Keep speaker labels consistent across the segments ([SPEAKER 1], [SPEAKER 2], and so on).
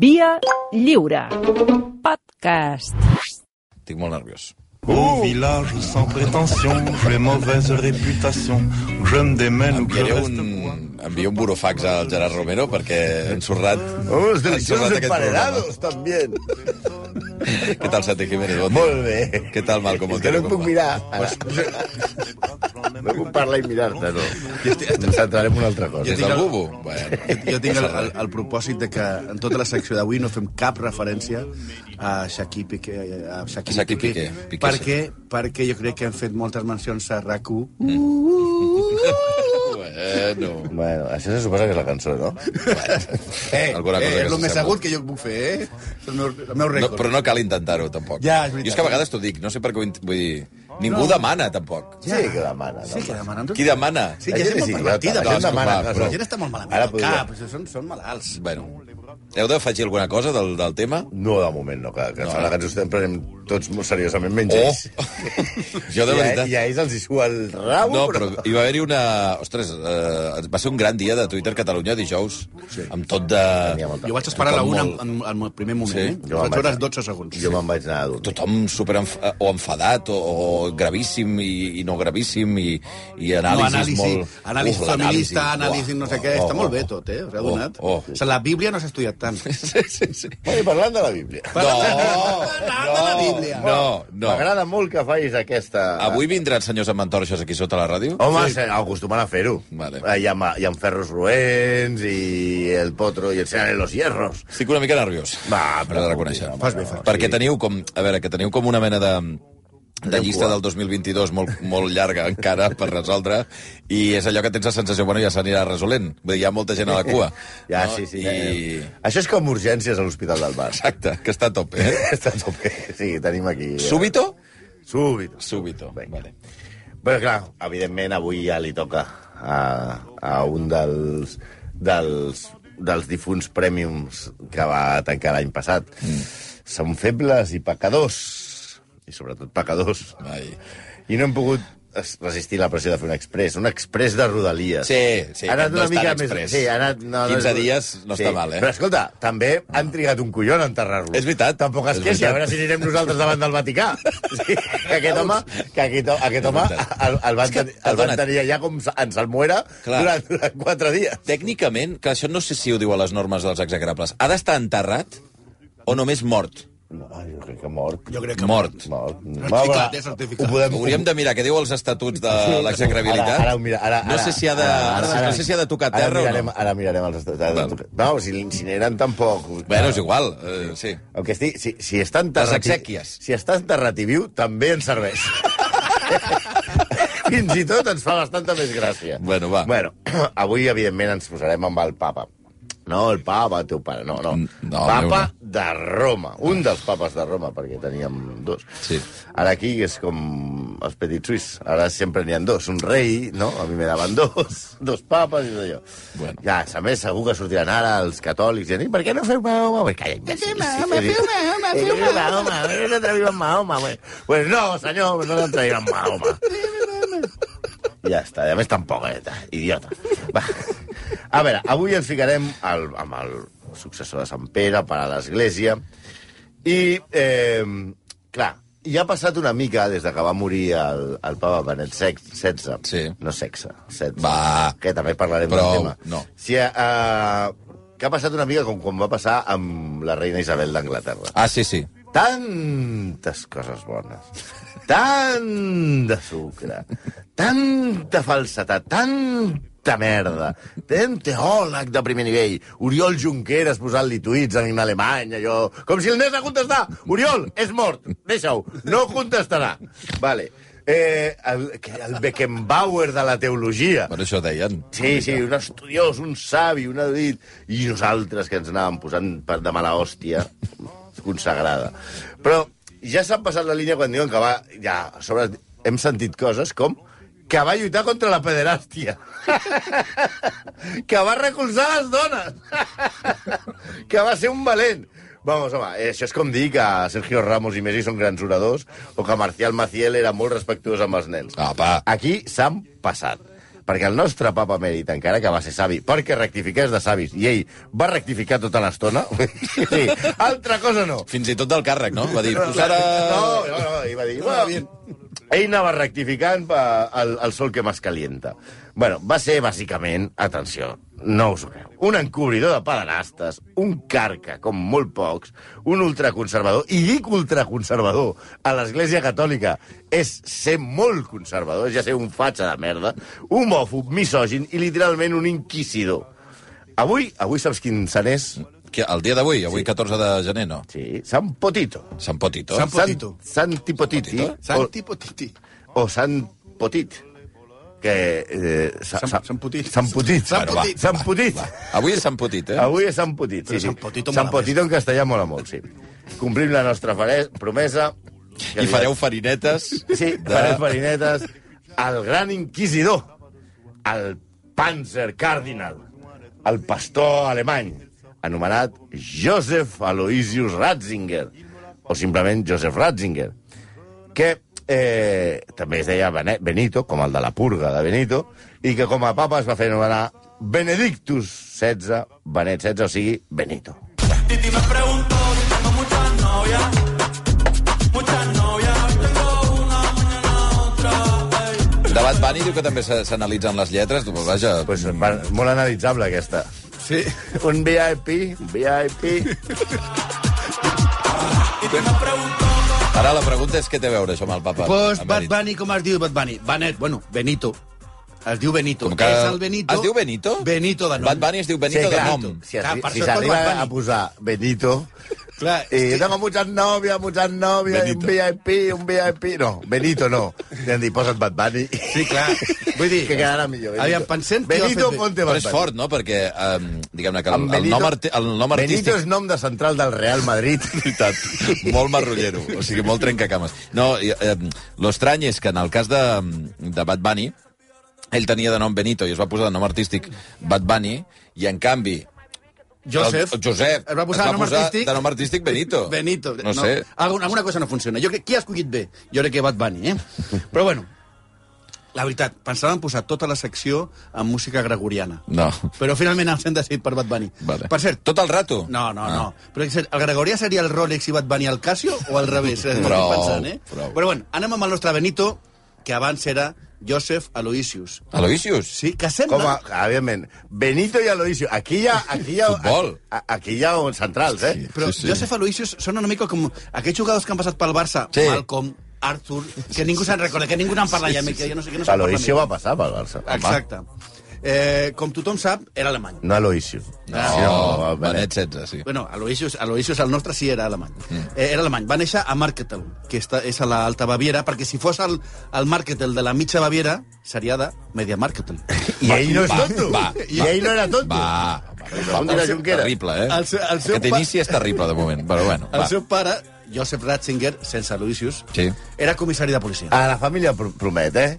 [SPEAKER 1] Via Lliure. Podcast.
[SPEAKER 2] Estic molt nerviós.
[SPEAKER 3] Au village sans prétention, j'ai mauvaise réputation. Je me démène ou que je
[SPEAKER 2] Enviaré
[SPEAKER 3] reste bois.
[SPEAKER 2] un, enviaré un burofax al Gerard Romero perquè he ensorrat...
[SPEAKER 4] Unos
[SPEAKER 5] Oh.
[SPEAKER 2] he ensorrat
[SPEAKER 4] deliciosos
[SPEAKER 2] aquest
[SPEAKER 4] emparedados, también.
[SPEAKER 2] programa. Què tal, Santi Jiménez? Bon dia.
[SPEAKER 4] Molt bé.
[SPEAKER 2] Què tal, Malcom?
[SPEAKER 4] És que no em
[SPEAKER 2] Com
[SPEAKER 4] puc
[SPEAKER 2] va?
[SPEAKER 4] mirar. Ara. No puc parlar i mirar-te, no. Ens centrarem en una altra cosa.
[SPEAKER 2] I és
[SPEAKER 5] tinc
[SPEAKER 2] del
[SPEAKER 5] el-
[SPEAKER 2] bubo? Bueno,
[SPEAKER 5] Jo, jo tinc el, el, el propòsit de que en tota la secció d'avui no fem cap referència a Shakir Piqué, a Shakir
[SPEAKER 2] Shakir
[SPEAKER 5] Piqué,
[SPEAKER 2] Piqué, Piqué,
[SPEAKER 5] perquè, perquè jo crec que hem fet moltes mencions a RAC1.
[SPEAKER 2] bueno.
[SPEAKER 4] Bueno, això se suposa que és la cançó, no?
[SPEAKER 5] Eh,
[SPEAKER 2] alguna cosa que
[SPEAKER 5] és el més
[SPEAKER 2] s'assembla.
[SPEAKER 5] agut que jo puc fer, eh? És el meu, el meu
[SPEAKER 2] No,
[SPEAKER 5] rècord.
[SPEAKER 2] però no cal intentar-ho, tampoc.
[SPEAKER 5] Ja, és veritat.
[SPEAKER 2] Jo és que a vegades t'ho dic, no sé per què ho... int- Vull dir, ningú demana, tampoc.
[SPEAKER 4] Sí que demana.
[SPEAKER 5] Sí que demanen.
[SPEAKER 2] Qui demana?
[SPEAKER 5] Sí,
[SPEAKER 4] La
[SPEAKER 5] que
[SPEAKER 4] gent
[SPEAKER 5] gent
[SPEAKER 4] és
[SPEAKER 5] molt pervertida.
[SPEAKER 4] idiota,
[SPEAKER 5] La
[SPEAKER 2] la
[SPEAKER 5] gent
[SPEAKER 2] gent
[SPEAKER 5] demana
[SPEAKER 2] demana,
[SPEAKER 5] però...
[SPEAKER 2] però-
[SPEAKER 5] La gent està molt malament.
[SPEAKER 4] Ara
[SPEAKER 5] Ara
[SPEAKER 4] podria.
[SPEAKER 5] Cap, són, són malalts.
[SPEAKER 2] Bueno, heu d'afegir alguna cosa del, del tema?
[SPEAKER 4] No, de moment no, que, que no. la cançó estem prenem tots molt seriosament, menys
[SPEAKER 2] Oh!
[SPEAKER 4] ells.
[SPEAKER 2] jo, de
[SPEAKER 4] I a-
[SPEAKER 2] veritat...
[SPEAKER 4] I a ells els hi sua el rabo,
[SPEAKER 2] No, però hi va haver-hi una... Ostres, eh, va ser un gran dia de Twitter Catalunya dijous, sí. amb tot de...
[SPEAKER 4] Tenia molta
[SPEAKER 5] Jo vaig
[SPEAKER 4] feina.
[SPEAKER 5] esperar la
[SPEAKER 2] Com
[SPEAKER 5] una
[SPEAKER 2] molt.
[SPEAKER 5] en, en, el primer moment,
[SPEAKER 2] Sí,
[SPEAKER 5] eh?
[SPEAKER 4] jo
[SPEAKER 5] Jo
[SPEAKER 4] me'n
[SPEAKER 5] vaig veure
[SPEAKER 4] vaig-
[SPEAKER 5] els 12 segons.
[SPEAKER 4] Jo me'n vaig anar a dormir.
[SPEAKER 2] tothom super enf o enfadat o, o gravíssim i, i no gravíssim i, i anàlisis molt...
[SPEAKER 5] Anàlisi
[SPEAKER 2] Uf, l'anàlisi.
[SPEAKER 5] feminista, anàlisi no sé què. Està molt bé tot, eh? Us heu
[SPEAKER 2] oh,
[SPEAKER 5] donat?
[SPEAKER 2] oh.
[SPEAKER 5] O sigui, la Bíblia no s'ha estudiat tant.
[SPEAKER 2] Sí, sí, sí.
[SPEAKER 4] Bueno, i parlant de la Bíblia.
[SPEAKER 2] No,
[SPEAKER 5] Parlant de la Bíblia.
[SPEAKER 2] no, no.
[SPEAKER 4] M'agrada molt que facis aquesta...
[SPEAKER 2] Avui vindran senyors amb antorxes aquí sota la ràdio?
[SPEAKER 4] Home, sí. acostumen a fer-ho.
[SPEAKER 2] Vale.
[SPEAKER 4] Eh, Hi, ha, ma- hi ha ferros roents i el potro i el sean en los hierros.
[SPEAKER 2] Estic una mica nerviós.
[SPEAKER 4] Va,
[SPEAKER 2] Però de reconèixer.
[SPEAKER 4] home,
[SPEAKER 5] Fas bé, fas bé.
[SPEAKER 2] Perquè teniu com... A veure, que teniu com una mena de de
[SPEAKER 4] Anem
[SPEAKER 2] llista
[SPEAKER 4] cua.
[SPEAKER 2] del 2022 molt, molt llarga encara per resoldre i és allò que tens la sensació, bueno, ja s'anirà resolent. Vull dir, hi ha molta gent a la cua.
[SPEAKER 4] Ja,
[SPEAKER 2] no?
[SPEAKER 4] sí, sí.
[SPEAKER 2] I...
[SPEAKER 4] I... Això és com urgències a l'Hospital del Mar.
[SPEAKER 2] Exacte, que està a tope. Eh?
[SPEAKER 4] Està a tope. Sí, tenim aquí... eh,
[SPEAKER 2] Súbito?
[SPEAKER 4] Súbito.
[SPEAKER 2] Súbito,
[SPEAKER 4] Vinga.
[SPEAKER 2] vale.
[SPEAKER 4] Però, clar, evidentment, avui ja li toca a, a un dels, dels, dels difunts prèmiums que va tancar l'any passat. Mm. Són febles i pecadors, i sobretot pecadors.
[SPEAKER 2] Ai.
[SPEAKER 4] I no hem pogut es- resistir la pressió de fer un express, un express de Rodalies.
[SPEAKER 2] Sí, sí,
[SPEAKER 4] Ha anat
[SPEAKER 2] no
[SPEAKER 4] una
[SPEAKER 2] és tan
[SPEAKER 4] mica
[SPEAKER 2] express.
[SPEAKER 4] més... Sí, ha anat, no,
[SPEAKER 2] 15 dies no està mal, eh?
[SPEAKER 4] Però escolta, també han trigat un collon a enterrar-lo.
[SPEAKER 2] És veritat.
[SPEAKER 4] Tampoc es
[SPEAKER 2] És
[SPEAKER 4] queixi, a
[SPEAKER 2] veritat.
[SPEAKER 4] veure si anirem nosaltres davant del Vaticà. Sí, que aquest home, que aquest, aquest home
[SPEAKER 2] veritat.
[SPEAKER 4] el, el,
[SPEAKER 2] És
[SPEAKER 4] van,
[SPEAKER 2] que,
[SPEAKER 4] tenir, el van
[SPEAKER 2] perdona.
[SPEAKER 4] tenir allà com en Salmuera
[SPEAKER 2] Clar.
[SPEAKER 4] durant, durant quatre dies.
[SPEAKER 2] Tècnicament, que això no sé si ho diu a les normes dels execrables, ha d'estar enterrat o només mort?
[SPEAKER 4] No, jo crec que mort.
[SPEAKER 5] Jo crec que...
[SPEAKER 2] Mort.
[SPEAKER 4] Mort.
[SPEAKER 5] Certificat, eh, certificat.
[SPEAKER 4] Ho podem...
[SPEAKER 2] Hauríem de mirar què diu els estatuts de l'execrabilitat.
[SPEAKER 4] Ara, ara, ho mira, ara, ara,
[SPEAKER 2] no sé si ha de, ara, ara, no sé si ha de tocar
[SPEAKER 4] ara
[SPEAKER 2] terra
[SPEAKER 4] mirarem,
[SPEAKER 2] o no.
[SPEAKER 4] Ara mirarem els estats. No, si l'incineren tampoc.
[SPEAKER 2] Bueno, és igual. Eh, sí.
[SPEAKER 4] El que estic, si, si està enterrat...
[SPEAKER 2] Les exèquies.
[SPEAKER 4] Si està enterrat i viu, també ens serveix. Fins i tot ens fa bastanta més gràcia.
[SPEAKER 2] Bueno, va.
[SPEAKER 4] Bueno, avui, evidentment, ens posarem amb el papa. No, el papa, teu pare, no, no.
[SPEAKER 2] Mm, No, el meu
[SPEAKER 4] papa
[SPEAKER 2] no.
[SPEAKER 4] de Roma, un dels papes de Roma, perquè teníem dos.
[SPEAKER 2] Sí.
[SPEAKER 4] Ara aquí és com els petits suís, ara sempre n'hi ha dos, un rei, no? A mi m'anaven dos, dos papes i tot allò.
[SPEAKER 2] Bueno.
[SPEAKER 4] Ja, a més, segur que sortiran ara els catòlics i diran, per què no feu Mahoma? Bé, calla, imbècil. Home, feu Mahoma, Eh, feu Mahoma. No t'atreviu amb Mahoma, bé. Pues no, senyor, no t'atreviu amb Mahoma. Ja està, i a més tampoc, eh? Idiota. Va. A veure, avui ens ficarem al, amb el successor de Sant Pere, pare de l'Església, i, eh, clar, ja ha passat una mica des de que va morir el, el papa Benet sex, XVI.
[SPEAKER 2] Sí.
[SPEAKER 4] No sexe, XVI.
[SPEAKER 2] Va.
[SPEAKER 4] Que també parlarem
[SPEAKER 2] Prou,
[SPEAKER 4] del tema.
[SPEAKER 2] no.
[SPEAKER 4] Sí, eh, que ha passat una mica com quan va passar amb la reina Isabel d'Anglaterra.
[SPEAKER 2] Ah, sí, sí.
[SPEAKER 4] Tantes coses bones, tant de sucre, tanta falsetat, tanta merda, tant teòleg de primer nivell, Oriol Junqueras posant-li tuits en alemany, allò... Com si el anés a contestar! Oriol, és mort, deixa-ho, no contestarà. Vale. Eh, el, el Beckenbauer de la teologia.
[SPEAKER 2] Per això deien.
[SPEAKER 4] Sí, sí, un estudiós, un savi, un erudit. I nosaltres, que ens anàvem posant per de mala hòstia consagrada. Però ja s'han passat la línia quan diuen que va... Ja, a sobre hem sentit coses com que va lluitar contra la pederàstia, que va recolzar les dones, que va ser un valent. Vamos, home, eh, això és com dir que Sergio Ramos i Messi són grans oradors o que Marcial Maciel era molt respectuós amb els nens.
[SPEAKER 2] Apa.
[SPEAKER 4] Aquí s'han passat. perquè el nostre papa emèrit, encara que va ser savi, perquè rectifiqués de savis, i ell va rectificar tota l'estona, sí, altra cosa no.
[SPEAKER 2] Fins i tot del càrrec, no? Va dir, pues ara...
[SPEAKER 4] No, no, no, i va dir...
[SPEAKER 5] va
[SPEAKER 4] Va,
[SPEAKER 5] bien.
[SPEAKER 4] ell anava rectificant eh, el, el sol que más calienta. Bueno, va ser, bàsicament, atenció, no us ho creu, un encobridor de pederastes, un carca, com molt pocs, un ultraconservador, i dic ultraconservador a l'Església Catòlica és ser molt conservador, és ja ser un fatxa de merda, homòfob, misògin i literalment un inquisidor. Avui, avui saps quin sant és?
[SPEAKER 2] Que el dia d'avui, avui 14 de gener, no?
[SPEAKER 4] Sí, Sant Potito.
[SPEAKER 2] Sant oh. Potito.
[SPEAKER 5] Sant Potito.
[SPEAKER 4] Sant, Santi Potiti. o-
[SPEAKER 5] Santi Potiti.
[SPEAKER 4] o Sant Petit, que... Eh, sa,
[SPEAKER 5] Sant-
[SPEAKER 4] sa-
[SPEAKER 5] Sant Putit.
[SPEAKER 4] Sant Putit.
[SPEAKER 5] Sant
[SPEAKER 4] Bueno, va,
[SPEAKER 5] Putit.
[SPEAKER 4] Sant Putit.
[SPEAKER 2] Avui és Sant Potit, eh?
[SPEAKER 4] Avui és Sant Putit, sí,
[SPEAKER 5] Però
[SPEAKER 4] sí.
[SPEAKER 5] Sant Potito
[SPEAKER 4] Sant
[SPEAKER 5] mola més.
[SPEAKER 4] Potito en castellà mola molt, sí. Complim la nostra fare- promesa.
[SPEAKER 2] I fareu farinetes.
[SPEAKER 4] Sí,
[SPEAKER 2] de-
[SPEAKER 4] fareu farinetes. El gran inquisidor, el Panzer Cardinal, el pastor alemany, anomenat Joseph Aloysius Ratzinger, o simplement Joseph Ratzinger, que eh, també es deia Bene- Benito, com el de la purga de Benito, i que com a papa es va fer anomenar Benedictus XVI, Benet XVI, o sigui, Benito.
[SPEAKER 6] Titi me preguntó si tengo muchas novias, muchas novias. Hoy tengo una, mañana otra. ey.
[SPEAKER 2] De Bad Bunny diu que també se- s'analitzen les lletres. Doncs, Vaja,
[SPEAKER 4] Pues, va- molt analitzable, aquesta.
[SPEAKER 5] Sí.
[SPEAKER 4] Un VIP, un VIP...
[SPEAKER 6] Titi me preguntó
[SPEAKER 2] ara la pregunta és què té a veure això amb el papa.
[SPEAKER 5] Pues
[SPEAKER 2] Amb
[SPEAKER 5] Bad
[SPEAKER 2] Benito.
[SPEAKER 5] Bunny, com es diu Bad Bunny? Benet, bueno, Benito. Es diu Benito.
[SPEAKER 2] Com que-
[SPEAKER 5] És el Benito.
[SPEAKER 2] Es diu Benito?
[SPEAKER 5] Benito de nom.
[SPEAKER 2] Bad Bunny es diu Benito de nom.
[SPEAKER 4] Si,
[SPEAKER 5] Clar,
[SPEAKER 4] arri-
[SPEAKER 5] per
[SPEAKER 4] si
[SPEAKER 5] això tot Bad
[SPEAKER 4] s'arriba
[SPEAKER 5] Bunny.
[SPEAKER 4] a posar Benito...
[SPEAKER 5] Clar,
[SPEAKER 4] I
[SPEAKER 5] és que-
[SPEAKER 4] tengo muchas novias, muchas novias, un
[SPEAKER 2] Benito.
[SPEAKER 4] VIP, un VIP... No, Benito no. Li han dit, posa't Bad Bunny.
[SPEAKER 5] Sí, clar. Vull dir...
[SPEAKER 4] Que quedarà millor. Benito.
[SPEAKER 5] Aviam, pensem... qui ho ha
[SPEAKER 4] Benito,
[SPEAKER 5] fet bé.
[SPEAKER 4] ponte
[SPEAKER 2] Però
[SPEAKER 4] Bad
[SPEAKER 2] és
[SPEAKER 4] Bunny.
[SPEAKER 2] fort, no? Perquè, um, diguem-ne, que el,
[SPEAKER 4] Amb
[SPEAKER 2] el,
[SPEAKER 4] Benito-
[SPEAKER 2] nom, arti el nom artístic...
[SPEAKER 4] Benito és nom de central del Real Madrid.
[SPEAKER 2] veritat. Molt marrullero, o sigui, molt trencacames. No, i, eh, l'estrany és que en el cas de, de Bad Bunny, ell tenia de nom Benito i es va posar de nom artístic Bad Bunny, i en canvi...
[SPEAKER 5] Joseph.
[SPEAKER 2] El, Josep.
[SPEAKER 5] Es va posar,
[SPEAKER 2] es
[SPEAKER 5] de nom artístic...
[SPEAKER 2] de nom artístic Benito.
[SPEAKER 5] Benito.
[SPEAKER 2] No, sé.
[SPEAKER 5] Alguna, alguna cosa no funciona. Jo crec, qui ha escollit bé? Jo crec que Bad Bunny, eh? Però bueno, la veritat, pensaven posar tota la secció amb música gregoriana.
[SPEAKER 2] No.
[SPEAKER 5] Però finalment ens hem decidit per Bad Bunny.
[SPEAKER 2] Vale.
[SPEAKER 5] Per cert,
[SPEAKER 2] Tot el rato?
[SPEAKER 5] No, no,
[SPEAKER 2] Ah.
[SPEAKER 5] no. Però és cert, el Gregorià seria el Rolex i Bad Bunny el Casio o al revés? Eh?
[SPEAKER 2] Prou,
[SPEAKER 5] Estic pensant, eh?
[SPEAKER 2] prou.
[SPEAKER 5] Però bueno, anem amb el nostre Benito, que abans era Joseph Aloysius.
[SPEAKER 2] Ah. Aloysius?
[SPEAKER 5] Sí, que sembla...
[SPEAKER 4] Com a, evidentment, Benito i Aloisio. Aquí hi ha... Aquí hi ha,
[SPEAKER 2] Futbol.
[SPEAKER 4] a- Aquí hi ha uns centrals, eh?
[SPEAKER 5] Però
[SPEAKER 2] Sí, sí.
[SPEAKER 5] Joseph Aloysius són una mica com aquests jugadors que han passat pel Barça,
[SPEAKER 2] Sí.
[SPEAKER 5] Malcolm, Arthur, que ningú se'n recorda, que ningú n'en parla ja, que jo no sé, que no se'n parla
[SPEAKER 4] Aloisio va passar pel Barça.
[SPEAKER 5] més. Exacte. Eh, com tothom sap, era alemany.
[SPEAKER 4] No Aloisio.
[SPEAKER 2] No, Oh,
[SPEAKER 4] Benet.
[SPEAKER 2] Benet 16, sí.
[SPEAKER 5] Bueno, Aloysius, Aloysius el nostre sí era alemany. Mm. Eh, era alemany. Va néixer a Marketel, que està, és a l'Alta Baviera, perquè si fos el, el Marketel de la mitja Baviera, seria de Media Marketel.
[SPEAKER 4] I ell no és
[SPEAKER 2] Va,
[SPEAKER 4] tonto.
[SPEAKER 2] va,
[SPEAKER 4] I
[SPEAKER 2] va.
[SPEAKER 4] ell no era tonto.
[SPEAKER 2] Va, va, va,
[SPEAKER 4] Com
[SPEAKER 2] va,
[SPEAKER 4] dirà
[SPEAKER 2] és
[SPEAKER 4] Junqueras.
[SPEAKER 2] terrible, eh?
[SPEAKER 5] El seu- el seu
[SPEAKER 2] Aquest
[SPEAKER 5] pa-
[SPEAKER 2] inici és terrible, de moment, però bueno,
[SPEAKER 5] El
[SPEAKER 2] va.
[SPEAKER 5] seu pare, Joseph Ratzinger, sense Aloysius,
[SPEAKER 2] Sí.
[SPEAKER 5] era comissari de policia.
[SPEAKER 4] A la família pr promet, eh?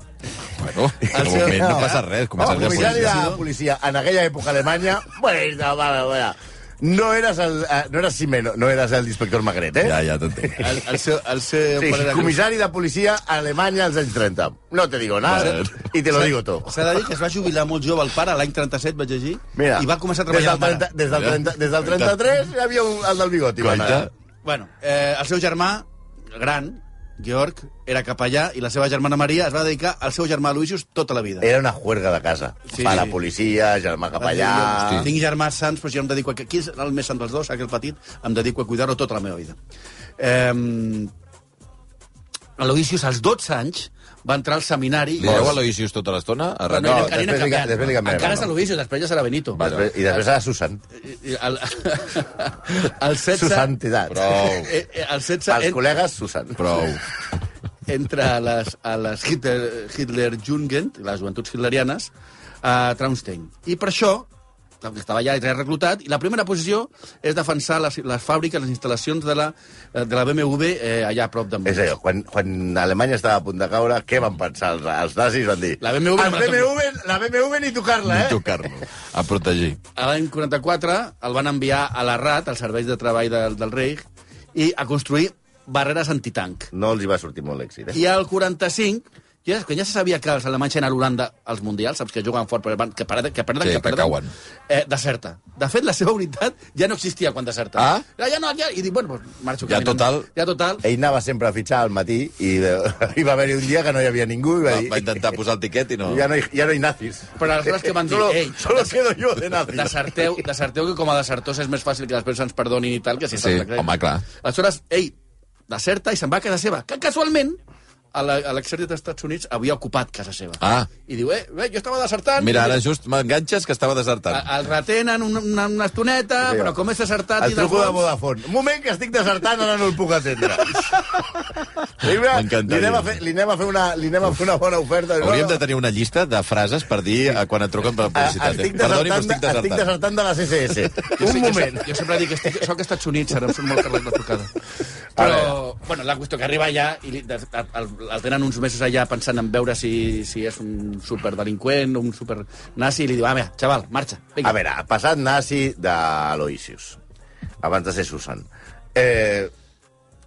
[SPEAKER 2] Bueno, de
[SPEAKER 5] seu-
[SPEAKER 2] moment no
[SPEAKER 5] no,
[SPEAKER 2] passa res, comença
[SPEAKER 4] Home,
[SPEAKER 2] a
[SPEAKER 4] comissari de
[SPEAKER 2] policia.
[SPEAKER 4] la policia en aquella època a Alemanya... Bueno, bueno, bueno. No eres el, eh, no eres Simeno, no eres el inspector Magret, eh?
[SPEAKER 2] Ja, ja t'entenc.
[SPEAKER 5] El, el seu, el seu
[SPEAKER 4] Sí,
[SPEAKER 5] pare era
[SPEAKER 4] comissari de policia a Alemanya als anys 30. No te digo nada
[SPEAKER 2] Bueno.
[SPEAKER 4] i te lo digo todo.
[SPEAKER 5] S'ha de dir que es va jubilar molt jove el pare, l'any 37 vaig llegir,
[SPEAKER 4] Mira,
[SPEAKER 5] i va començar a treballar
[SPEAKER 4] des del,
[SPEAKER 5] la
[SPEAKER 4] 30, des, del 30, des del 33 hi havia un, el del bigoti.
[SPEAKER 2] Guaita.
[SPEAKER 4] va anar.
[SPEAKER 5] mare. Bueno, eh, el seu germà, gran, Georg, era capellà i la seva germana Maria es va dedicar al seu germà Aloysius tota la vida.
[SPEAKER 4] Era una juerga de casa.
[SPEAKER 5] Sí.
[SPEAKER 4] Sí. Pare policia, germà capellà...
[SPEAKER 5] Tinc germans sants, però jo em dedico a... Qui és el més sant dels dos, aquell petit? Em dedico a cuidar-lo tota la meva vida. Eh, Aloysius, als 12 anys, va entrar al seminari...
[SPEAKER 2] Li deu a Aloysius tota l'estona? A
[SPEAKER 5] Però
[SPEAKER 2] Rac-
[SPEAKER 5] no,
[SPEAKER 4] No,
[SPEAKER 5] no, després,
[SPEAKER 4] després li-
[SPEAKER 5] canviant.
[SPEAKER 4] després li canviarem,
[SPEAKER 5] Encara és
[SPEAKER 4] no?
[SPEAKER 5] Aloysius, després ja serà Benito.
[SPEAKER 4] Després, I després a Susan.
[SPEAKER 5] I El, el 16...
[SPEAKER 4] Su santitat.
[SPEAKER 2] Prou.
[SPEAKER 5] Eh, eh, el 16
[SPEAKER 4] Pels
[SPEAKER 5] en,
[SPEAKER 4] col·legues, Susan.
[SPEAKER 2] Prou.
[SPEAKER 5] entra a les, a les Hitler, Hitlerjugend, les joventuts hitlerianes, a Traunstein. I per això clar, estava allà i era reclutat, i la primera posició és defensar les, les fàbriques, les instal·lacions de la, de la BMW eh, allà a prop de
[SPEAKER 4] És
[SPEAKER 5] Múnich.
[SPEAKER 4] allò, quan, quan Alemanya estava a punt de caure, què van pensar els, els nazis? Van dir...
[SPEAKER 5] La BMW
[SPEAKER 4] "El
[SPEAKER 5] me la
[SPEAKER 4] BMW, la BMW ni tocar-la, eh?
[SPEAKER 2] Ni tocar-lo. A protegir.
[SPEAKER 5] A L'any 44 el van enviar a la RAT, als serveis de treball del, del Reich, i a construir barreres antitanc.
[SPEAKER 4] No els hi va sortir molt l'èxit, eh?
[SPEAKER 5] I al 45 Ja, quan ja se sabia que els alemanys eren a Holanda als Mundials, saps que juguen fort, però van- que perden, que perden,
[SPEAKER 2] Sí,
[SPEAKER 5] que
[SPEAKER 2] que
[SPEAKER 5] perden.
[SPEAKER 2] cauen.
[SPEAKER 5] Eh, deserta. De fet, la seva unitat ja no existia quan deserta.
[SPEAKER 2] Ah?
[SPEAKER 5] Ja, ja no, ja, I dic, bueno, doncs marxo
[SPEAKER 2] Ja
[SPEAKER 5] caminant.
[SPEAKER 2] total.
[SPEAKER 5] Ja total.
[SPEAKER 4] Ell anava sempre a fitxar al matí i, de, i va haver-hi un dia que no hi havia ningú i
[SPEAKER 2] Va,
[SPEAKER 4] va, dir...
[SPEAKER 2] va intentar posar el tiquet i no...
[SPEAKER 4] Ja no, hi, ja no hi nazis.
[SPEAKER 5] Però aleshores que van dir,
[SPEAKER 4] Solo,
[SPEAKER 5] ei,
[SPEAKER 4] solo quedo jo de nazis.
[SPEAKER 5] Deserteu, deserteu, que com a desertors és més fàcil que després ens perdonin i tal, que si
[SPEAKER 2] Sí,
[SPEAKER 5] s'ha-
[SPEAKER 2] home, clar.
[SPEAKER 5] Aleshores, ell deserta i se'n va a casa seva, que casualment a la- a l'exèrcit dels Estats Units havia ocupat casa seva.
[SPEAKER 2] Ah.
[SPEAKER 5] I diu, eh, bé, jo estava desertant...
[SPEAKER 2] Mira, ara
[SPEAKER 5] i-
[SPEAKER 2] just m'enganxes que estava desertant.
[SPEAKER 5] El retenen una, una, una estoneta,
[SPEAKER 4] Sí,
[SPEAKER 5] sí, però
[SPEAKER 4] va.
[SPEAKER 5] com és desertat...
[SPEAKER 4] El
[SPEAKER 5] i
[SPEAKER 4] truco de
[SPEAKER 5] desbons-
[SPEAKER 4] Vodafone. Un moment, que estic desertant, ara no el puc atendre. Li, li,
[SPEAKER 2] M'encantaria.
[SPEAKER 4] anem a fer, li, anem a fer una, li anem a fer una bona oferta.
[SPEAKER 2] Hauríem de tenir una llista de frases per dir eh, quan et truquen per la
[SPEAKER 4] Ah,
[SPEAKER 2] publicitat. eh?
[SPEAKER 4] Estic
[SPEAKER 2] Perdoni, però
[SPEAKER 4] desertant,
[SPEAKER 2] estic
[SPEAKER 4] de, estic
[SPEAKER 2] desertant.
[SPEAKER 4] desertant de la CCS.
[SPEAKER 5] Jo sé-
[SPEAKER 4] Un
[SPEAKER 5] jo
[SPEAKER 4] moment.
[SPEAKER 5] sé- Jo, sempre dic que estic, soc als Estats Units, ara em surt molt carlet la trucada. Però, bueno, la qüestió que arriba allà i li, de, de, el, el tenen uns mesos allà pensant en veure si, si és un superdelinqüent o un supernazi i li diu, ah, mira, xaval, marxa, vinga.
[SPEAKER 4] A veure, ha passat nazi d'Aloisius, abans de ser Susan. Eh,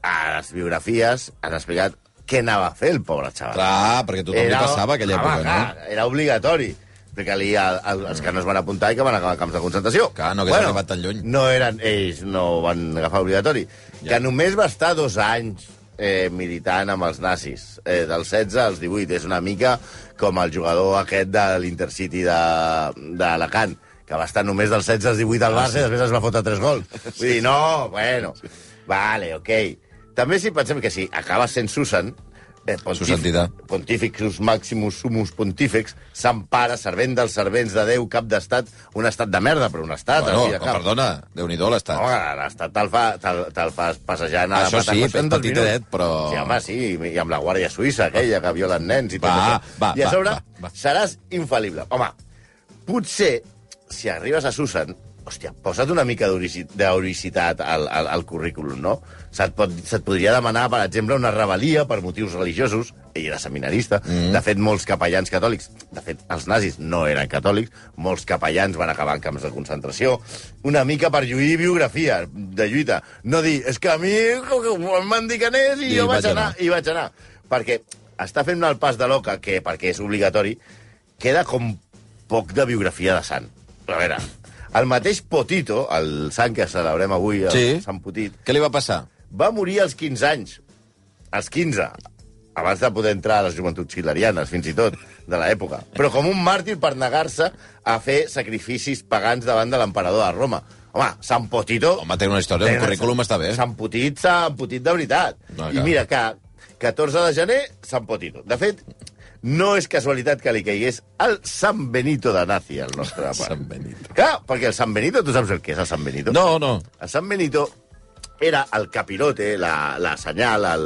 [SPEAKER 4] a les biografies han explicat què anava a fer el pobre xaval.
[SPEAKER 2] Clar, perquè a tothom li passava aquella
[SPEAKER 4] home,
[SPEAKER 2] època, no?
[SPEAKER 4] clar, Era obligatori. Que li, els que no es van apuntar i que van acabar a camps de concentració.
[SPEAKER 2] Clar, no hagués arribat tan lluny.
[SPEAKER 4] No eren, ells no ho van agafar obligatori. Ja. Que només va estar dos anys eh, militant amb els nazis, eh, del 16 als 18. És una mica com el jugador aquest de l'Intercity de- d'Alacant, que va estar només del 16 als 18
[SPEAKER 2] Ah,
[SPEAKER 4] al Barça i després es va fotre tres gols. Vull dir, no, bueno, vale, ok. També si pensem que si acaba sent Susan, eh, pontífic-
[SPEAKER 2] Susan Dida.
[SPEAKER 4] Pontificus Maximus Sumus Pontifex, Sant Pare, servent dels servents de Déu, cap d'estat, un estat de merda, però un estat.
[SPEAKER 2] Bueno,
[SPEAKER 4] al fi i al cap.
[SPEAKER 2] perdona, Déu-n'hi-do l'estat.
[SPEAKER 4] Home, l'estat te'l fa, te'l te fas passejant a
[SPEAKER 2] Això
[SPEAKER 4] la
[SPEAKER 2] sí,
[SPEAKER 4] Patacos
[SPEAKER 2] però
[SPEAKER 4] en dos
[SPEAKER 2] petitadet,
[SPEAKER 4] minuts.
[SPEAKER 2] però-
[SPEAKER 4] Sí, home, sí, i amb la Guàrdia Suïssa, aquella que violen nens i tot
[SPEAKER 2] Va,
[SPEAKER 4] això.
[SPEAKER 2] va,
[SPEAKER 4] I a
[SPEAKER 2] va,
[SPEAKER 4] sobre,
[SPEAKER 2] va, va.
[SPEAKER 4] seràs infal·lible. Home, potser, si arribes a Susan, hòstia, posa't una mica d'orici- d'heroïcitat al, al, al currículum, no? Se't, pot, se't podria demanar, per exemple, una rebel·lia per motius religiosos. Ell era seminarista. Mm. De fet, molts capellans catòlics... De fet, els nazis no eren catòlics. Molts capellans van acabar en camps de concentració. Una mica per lluir biografia de lluita. No dir, és que a mi m'han dit que anés
[SPEAKER 2] I
[SPEAKER 4] i, I jo
[SPEAKER 2] vaig
[SPEAKER 4] vaig anar.
[SPEAKER 2] anar.
[SPEAKER 4] I vaig anar. Perquè està fent el pas de l'oca, que perquè és obligatori, queda com poc de biografia de Sant. A veure, el mateix Potito, el Sant que celebrem avui, el
[SPEAKER 2] Sí.
[SPEAKER 4] sí. Sant Potit,
[SPEAKER 2] Què li va passar?
[SPEAKER 4] va morir als 15 anys. Als 15. Abans de poder entrar a les joventuts hilarianes, fins i tot, de l'època. Però com un màrtir per negar-se a fer sacrificis pagans davant de l'emperador de Roma. Home, Sant Potito...
[SPEAKER 2] Home, té una història, un
[SPEAKER 4] Tenen-
[SPEAKER 2] currículum està bé.
[SPEAKER 4] Sant Potit, Sant Potit de veritat.
[SPEAKER 2] No,
[SPEAKER 4] No,
[SPEAKER 2] clar.
[SPEAKER 4] I mira que 14 de gener, Sant Potito. De fet, no és casualitat que li caigués el Sant Benito de Nazi, al nostre pare.
[SPEAKER 2] Sant Benito.
[SPEAKER 4] Clar, perquè el Sant Benito, tu saps el que és el Sant Benito?
[SPEAKER 2] No, no.
[SPEAKER 4] El Sant Benito era el capirote, la, la senyal, el,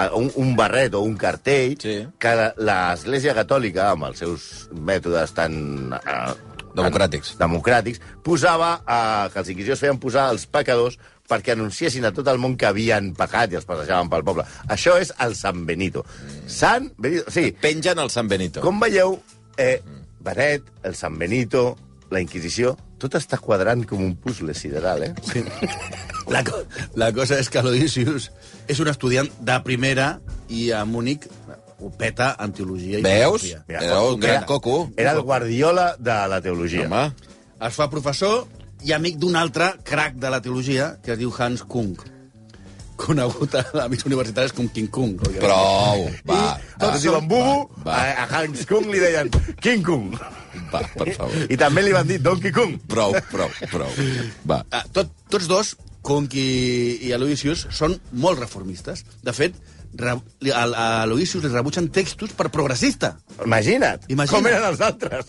[SPEAKER 4] el, un, un barret o un cartell
[SPEAKER 2] Sí.
[SPEAKER 4] que la- l'Església Catòlica, amb els seus mètodes tan... Eh,
[SPEAKER 2] Democràtics.
[SPEAKER 4] Tan, democràtics, posava, eh, que els inquisidors feien posar als pecadors perquè anunciessin a tot el món que havien pecat i els passejaven pel poble. Això és el Sant Benito.
[SPEAKER 2] Mm.
[SPEAKER 4] Sant Benito, sí.
[SPEAKER 2] Pengen el Sant Benito.
[SPEAKER 4] Com veieu, eh,
[SPEAKER 2] Mm.
[SPEAKER 4] Benet, el San Benito, la Inquisició, tot està quadrant com un puzzle sideral, eh? Sí.
[SPEAKER 5] La, co- la cosa és que Aloysius és un estudiant de primera i a Múnich ho peta en teologia i
[SPEAKER 2] Veus?
[SPEAKER 5] filosofia.
[SPEAKER 4] Mira,
[SPEAKER 2] Era un
[SPEAKER 4] era-
[SPEAKER 2] gran coco.
[SPEAKER 4] Era el guardiola de la teologia.
[SPEAKER 2] Home,
[SPEAKER 5] Es fa professor i amic d'un altre crac de la teologia que es diu Hans Kung, conegut a amics universitaris com King Kung.
[SPEAKER 2] prou. Va,
[SPEAKER 4] I
[SPEAKER 2] va,
[SPEAKER 4] tots diuen Bubu,
[SPEAKER 2] va,
[SPEAKER 4] a, a Hans Kung li deien King Kung.
[SPEAKER 2] va, per
[SPEAKER 5] Eh?
[SPEAKER 2] favor.
[SPEAKER 4] I també li van dir Donkey Kung.
[SPEAKER 2] Prou, prou, prou. Va.
[SPEAKER 5] Ah, tot, tots dos, Conc i, i Aloysius, són molt reformistes. De fet, re, li- a, a Aloysius li rebutgen textos per progressista.
[SPEAKER 4] Imagina't,
[SPEAKER 5] Imagina't.
[SPEAKER 4] com eren els altres.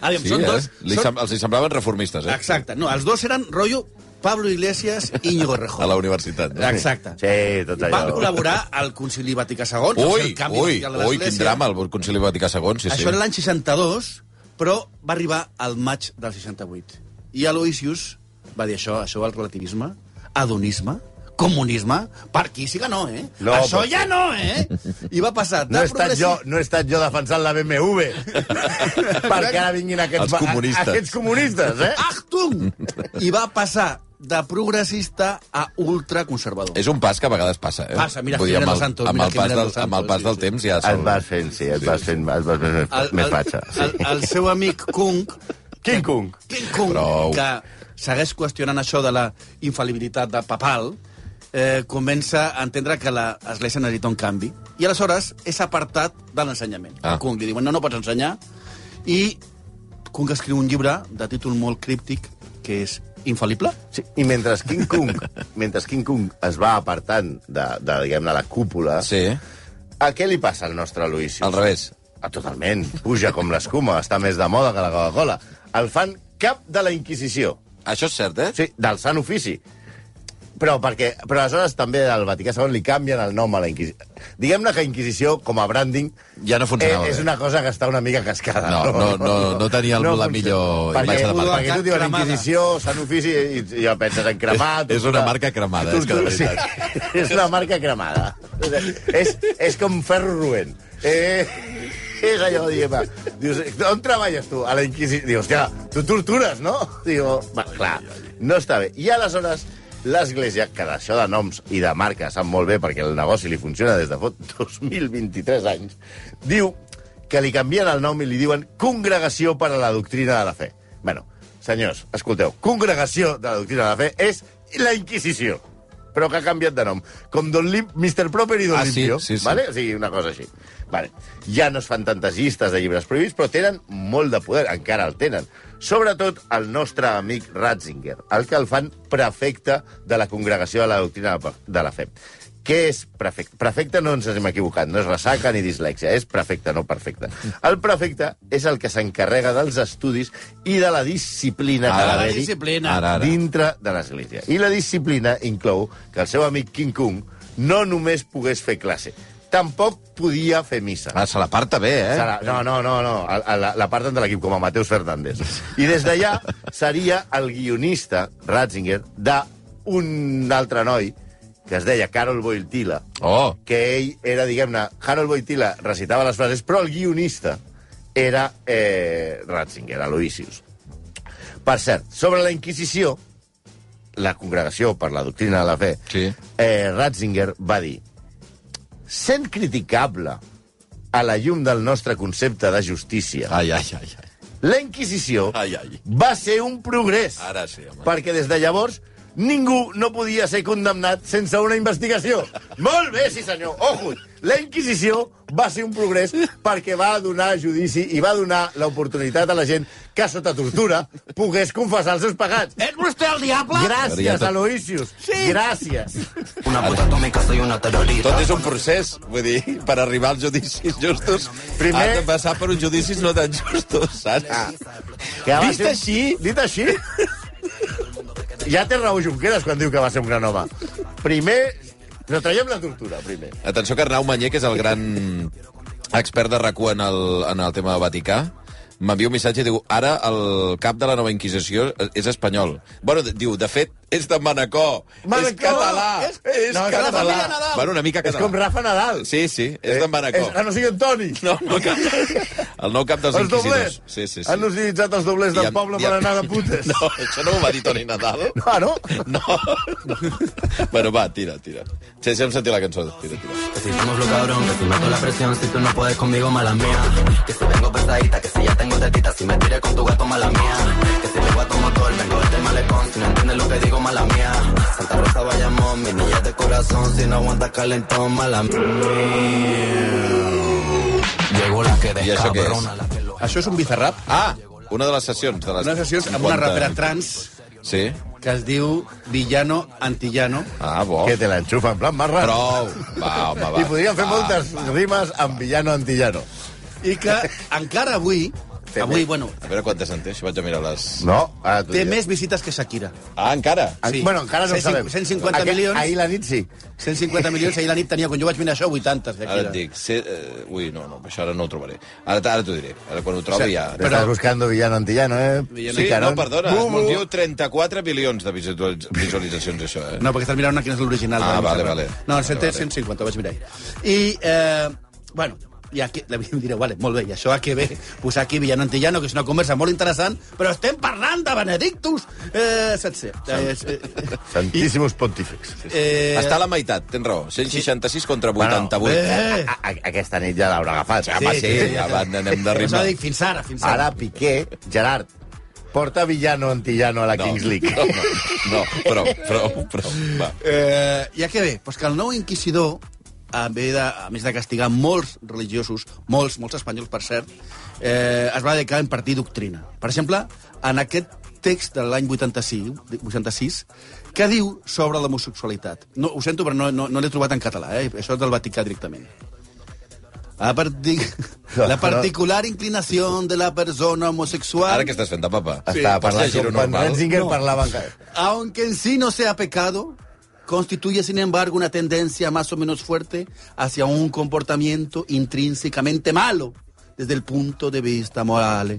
[SPEAKER 5] Aviam,
[SPEAKER 2] Sí,
[SPEAKER 5] Ah, són
[SPEAKER 2] eh?
[SPEAKER 5] dos...
[SPEAKER 2] Li
[SPEAKER 5] són...
[SPEAKER 2] sem els hi semblaven reformistes, eh?
[SPEAKER 5] Exacte. No, els dos eren rotllo Pablo Iglesias i Íñigo Rejón.
[SPEAKER 2] A la universitat. no?
[SPEAKER 5] Exacte.
[SPEAKER 4] Sí, tot allò.
[SPEAKER 5] Van col·laborar al Concili Vaticà II. que va fer
[SPEAKER 2] Ui,
[SPEAKER 5] el canvi
[SPEAKER 2] ui,
[SPEAKER 5] mundial de
[SPEAKER 2] ui, quin
[SPEAKER 5] l'Església.
[SPEAKER 2] drama, el Concili Vaticà II, sí, sí.
[SPEAKER 5] Això era l'any 62, però va arribar al maig del 68. I Aloysius va dir això, això el relativisme, adonisme, comunisme, per aquí sí que no, eh?
[SPEAKER 4] No,
[SPEAKER 5] això
[SPEAKER 4] però-
[SPEAKER 5] ja no, eh? I va passar de
[SPEAKER 4] No he, estat
[SPEAKER 5] progressi-
[SPEAKER 4] jo, no he estat jo defensant la BMW perquè ara vinguin aquests,
[SPEAKER 2] Els comunistes. Ah.
[SPEAKER 4] aquests comunistes, eh?
[SPEAKER 5] Achtung! I va passar de progressista a ultraconservador.
[SPEAKER 2] És un pas que a vegades passa, eh?
[SPEAKER 5] Passa, mira
[SPEAKER 2] Vull dir,
[SPEAKER 5] Jiménez
[SPEAKER 2] amb
[SPEAKER 5] dos
[SPEAKER 2] el,
[SPEAKER 5] Santos,
[SPEAKER 2] amb
[SPEAKER 5] mira
[SPEAKER 2] el pas
[SPEAKER 5] Jiménez
[SPEAKER 2] del,
[SPEAKER 5] dos Santos,
[SPEAKER 2] amb el pas
[SPEAKER 5] sí,
[SPEAKER 2] del
[SPEAKER 5] sí.
[SPEAKER 2] temps ja...
[SPEAKER 4] Et vas fent, sí, et vas fent, et vas fent més, més fatxa.
[SPEAKER 5] El,
[SPEAKER 4] Sí.
[SPEAKER 5] el seu amic Kung,
[SPEAKER 4] King Kong.
[SPEAKER 5] King Kung
[SPEAKER 2] Prou.
[SPEAKER 5] que segueix qüestionant això de la infal·libilitat de papal, eh, comença a entendre que la- l'Església necessita un canvi. I aleshores és apartat de l'ensenyament.
[SPEAKER 2] Ah.
[SPEAKER 5] Ah. Kung li diuen, no, no pots ensenyar. I Kung escriu un llibre de títol molt críptic que és infal·lible.
[SPEAKER 4] Sí, I mentre King Kong, mentre King Kong es va apartant de, de diguem-ne, la cúpula,
[SPEAKER 2] Sí,
[SPEAKER 4] a què li passa al nostre Luis?
[SPEAKER 2] al revés.
[SPEAKER 4] Ah, totalment. Puja com l'escuma, està més de moda que la Coca-Cola. El fan cap de la Inquisició.
[SPEAKER 2] Això és cert, eh?
[SPEAKER 4] Sí, del sant ofici. Però, perquè, però aleshores també al Vaticà II li canvien el nom a la Inquisició. Diguem-ne que Inquisició, com a branding,
[SPEAKER 2] Ja no
[SPEAKER 4] eh,
[SPEAKER 2] funcionava
[SPEAKER 4] és una cosa que està una mica cascada.
[SPEAKER 2] No, no, no, no tenia el- la
[SPEAKER 4] funciona.
[SPEAKER 2] millor
[SPEAKER 4] perquè,
[SPEAKER 2] imatge de marca.
[SPEAKER 4] Perquè tu diuen
[SPEAKER 5] Cremada.
[SPEAKER 4] Inquisició, Sant Ofici, i, i ja penses en cremat...
[SPEAKER 2] És una
[SPEAKER 4] tortura.
[SPEAKER 2] marca cremada, és que de
[SPEAKER 4] Tortura, Sí, és una marca cremada. és, és com ferro roent. Eh, és allò, diguem Dius, on treballes tu? A la Inquisició. Dius, hòstia, tu tortures, no? Digo, va, clar, no està bé. I aleshores, l'Església, que d'això de noms i de marques sap molt bé perquè el negoci li funciona des de fot 2023 anys, diu que li canvien el nom i li diuen Congregació per a la Doctrina de la Fe. Bueno, senyors, escolteu, Congregació de la Doctrina de la Fe és la Inquisició, però que ha canviat de nom. Com Don Lim, Mr. Proper i Don
[SPEAKER 2] Ah, sí,
[SPEAKER 4] Limpio,
[SPEAKER 2] sí, sí.
[SPEAKER 4] vale? o sigui, una cosa així. Vale. Ja no es fan tantes llistes de llibres prohibits, però tenen molt de poder, encara el tenen. Sobretot el nostre amic Ratzinger, el que el fan prefecte de la Congregació de la Doctrina de la Fe. Què és prefecte? Prefecte no ens hem equivocat, no és ressaca ni dislèxia, és prefecte, no perfecte. El prefecte és el que s'encarrega dels estudis i de la disciplina
[SPEAKER 2] Ara,
[SPEAKER 4] que
[SPEAKER 2] la
[SPEAKER 4] va haver-hi
[SPEAKER 5] disciplina.
[SPEAKER 2] Ara, ara.
[SPEAKER 4] dintre de l'Església. I la disciplina inclou que el seu amic King Kong no només pogués fer classe, tampoc podia fer missa.
[SPEAKER 2] Ah, se l'aparta bé, eh?
[SPEAKER 4] Serà- No, no, no, no. A, a la, la part de l'equip, com a Mateus Fernández. I des d'allà seria el guionista, Ratzinger, d'un altre noi que es deia Carol Boitila,
[SPEAKER 2] Oh,
[SPEAKER 4] que ell era, diguem-ne, Harold Boitila recitava les frases, però el guionista era eh, Ratzinger, Aloysius. Per cert, sobre la Inquisició, la Congregació per la Doctrina de la Fe,
[SPEAKER 2] Sí.
[SPEAKER 4] eh, Ratzinger va dir sent criticable a la llum del nostre concepte de justícia,
[SPEAKER 2] ai, ai, ai. ai.
[SPEAKER 4] la Inquisició
[SPEAKER 2] Ai, ai.
[SPEAKER 4] va ser un progrés.
[SPEAKER 2] Ara sí, home.
[SPEAKER 4] Perquè des de llavors ningú no podia ser condemnat sense una investigació. Molt bé, sí senyor. Ojo, la Inquisició va ser un progrés perquè va donar judici i va donar l'oportunitat a la gent que sota tortura pogués confessar els seus pegats.
[SPEAKER 5] És vostè el diable?
[SPEAKER 2] Maria,
[SPEAKER 4] Gràcies,
[SPEAKER 2] tot-
[SPEAKER 4] Aloysius. Sí. Gràcies.
[SPEAKER 7] Una puta atómica, soy una terrorista.
[SPEAKER 2] Tot és un procés, vull dir, per arribar als judicis justos,
[SPEAKER 4] Primer- Ah.
[SPEAKER 2] has de passar per uns judicis no tan justos, saps?
[SPEAKER 4] Que va
[SPEAKER 2] Vist
[SPEAKER 4] ser un-
[SPEAKER 2] així-
[SPEAKER 4] Dit així... Ja té raó Junqueras quan diu que va ser un gran home. Primer, però traiem la tortura, primer.
[SPEAKER 2] Atenció que Arnau Manyer, que és el gran expert de RAC1 en el, en el tema Vaticà, m'envia un missatge i diu ara el cap de la nova Inquisició és espanyol. Bueno, d- diu, de fet, és de Manacor, és
[SPEAKER 4] Manacor,
[SPEAKER 2] català, és,
[SPEAKER 4] és- No, és de la
[SPEAKER 2] català.
[SPEAKER 4] família Nadal.
[SPEAKER 2] Bueno, una mica
[SPEAKER 4] És
[SPEAKER 2] català.
[SPEAKER 4] com Rafa Nadal. Eh,
[SPEAKER 2] Sí, sí, és de Manacor.
[SPEAKER 4] És que no sigui en Toni.
[SPEAKER 2] No, no, cap... El nou cap dels
[SPEAKER 4] Els
[SPEAKER 2] inquisidors.
[SPEAKER 4] doblers.
[SPEAKER 2] Sí, sí, sí.
[SPEAKER 4] Han utilitzat els doblers
[SPEAKER 2] I
[SPEAKER 4] del
[SPEAKER 2] amb-
[SPEAKER 4] poble
[SPEAKER 2] i
[SPEAKER 4] per
[SPEAKER 2] amb-
[SPEAKER 4] anar de putes.
[SPEAKER 2] No, això no ho va dir Toni Nadal.
[SPEAKER 4] Ah, no?
[SPEAKER 2] No. bueno, va, tira, tira. Sí, sí, hem sentit la cançó. Tira, tira.
[SPEAKER 7] Que si somos lo cabrón, que si mato la presión, si tú no puedes conmigo, mala mía. Que si vengo pesadita, que si ya tengo tetita, si me tiré con tu gato, mala mía. Que si vengo a tu motor, vengo del malecón, si no entiendes lo que digo, mala mía. Santa Rosa, vayamos, mi niña de corazón, si no aguanta calentón, mala mía. Llegó la que
[SPEAKER 5] Eh,
[SPEAKER 2] ¿Y eso qué es?
[SPEAKER 7] descabrona, la que lo...
[SPEAKER 5] Això és un bizarrap.
[SPEAKER 2] Ah, una de les sessions. De les
[SPEAKER 5] Una sessió amb
[SPEAKER 2] 50.
[SPEAKER 5] una rapera trans
[SPEAKER 2] Sí.
[SPEAKER 5] que es diu Villano Antillano.
[SPEAKER 2] Ah, bo.
[SPEAKER 4] Que te l'enxufa en plan marra.
[SPEAKER 2] Prou. Va, home, va.
[SPEAKER 4] I podríem fer
[SPEAKER 2] va.
[SPEAKER 4] moltes rimes amb villano antillano.
[SPEAKER 5] i que encara avui,
[SPEAKER 4] Té
[SPEAKER 5] avui,
[SPEAKER 4] més.
[SPEAKER 5] bueno,
[SPEAKER 2] Ah, A veure quantes en té, si vaig a mirar les...
[SPEAKER 4] No? Ara t'ho
[SPEAKER 5] té
[SPEAKER 4] diré.
[SPEAKER 5] més visites que Shakira.
[SPEAKER 2] Ah, encara?
[SPEAKER 4] En-
[SPEAKER 5] sí.
[SPEAKER 4] Bueno, encara no ho sabem.
[SPEAKER 5] 150 150
[SPEAKER 4] Aquest-
[SPEAKER 5] milions.
[SPEAKER 4] Ahir la nit sí.
[SPEAKER 5] 150 milions, ahir la nit tenia, quan jo vaig mirar això, 80,
[SPEAKER 2] Ara et
[SPEAKER 5] Shakira.
[SPEAKER 2] dic... Se... eh, Ui, no, no, això ara no ho trobaré. Ara, ara t'ho diré. Ara quan ho trobi ja...
[SPEAKER 4] Però... Estàs buscando villano antillano, eh?
[SPEAKER 5] Villano-
[SPEAKER 2] Sí,
[SPEAKER 4] Picarón.
[SPEAKER 2] no, perdona,
[SPEAKER 4] Bu,
[SPEAKER 2] es
[SPEAKER 4] bu.
[SPEAKER 2] diu 34 bilions de visualitz- visualitzacions, això, eh?
[SPEAKER 5] No, perquè estàs mirant una, quina és l'original.
[SPEAKER 2] Ah,
[SPEAKER 5] no sé
[SPEAKER 2] vale,
[SPEAKER 5] quan.
[SPEAKER 2] vale.
[SPEAKER 5] No,
[SPEAKER 2] Vale,
[SPEAKER 5] el 100,
[SPEAKER 2] vale.
[SPEAKER 5] 150, ho vaig mirar ahir. I, eh, bueno, I aquí, direu, vale, molt bé, i això a què ve? Pues aquí, Villano Antillano, que és una conversa molt interessant, però estem parlant de Benedictus! Eh, setze. Eh, eh,
[SPEAKER 4] Santíssimos pontífex.
[SPEAKER 5] eh,
[SPEAKER 2] Està a la meitat, tens raó. 166 contra 88.
[SPEAKER 5] Bueno,
[SPEAKER 4] A, a, a, aquesta nit ja l'haurà agafat.
[SPEAKER 2] Home, sí, ja va, anem de
[SPEAKER 5] Però
[SPEAKER 2] ritme.
[SPEAKER 5] s'ha de dir eh, fins ara, fins ara.
[SPEAKER 4] Ara Piqué, Gerard, porta Villano Antillano a la Kings League.
[SPEAKER 2] No, no, no, prou, prou, prou. Va.
[SPEAKER 5] Eh, I a què ve? Pues que el nou inquisidor, a, ve de, a més de castigar molts religiosos, molts, molts espanyols, per cert, eh, es va dedicar a impartir doctrina. Per exemple, en aquest text de l'any 85, 86, que diu sobre l'homosexualitat. No, ho sento, però no, no, no l'he trobat en català, eh? això és del Vaticà directament. A partir... La particular inclinació de la persona homosexual...
[SPEAKER 2] Ara que estàs fent de papa.
[SPEAKER 4] Està
[SPEAKER 2] Pots
[SPEAKER 4] parlant com
[SPEAKER 2] llegir-ho
[SPEAKER 4] quan
[SPEAKER 2] normal.
[SPEAKER 4] Ratzinger parlava... en ca-
[SPEAKER 5] aunque en sí no sea pecado, constituye sin embargo una tendencia más o menos fuerte hacia un comportamiento intrínsecamente malo desde el punto de vista moral.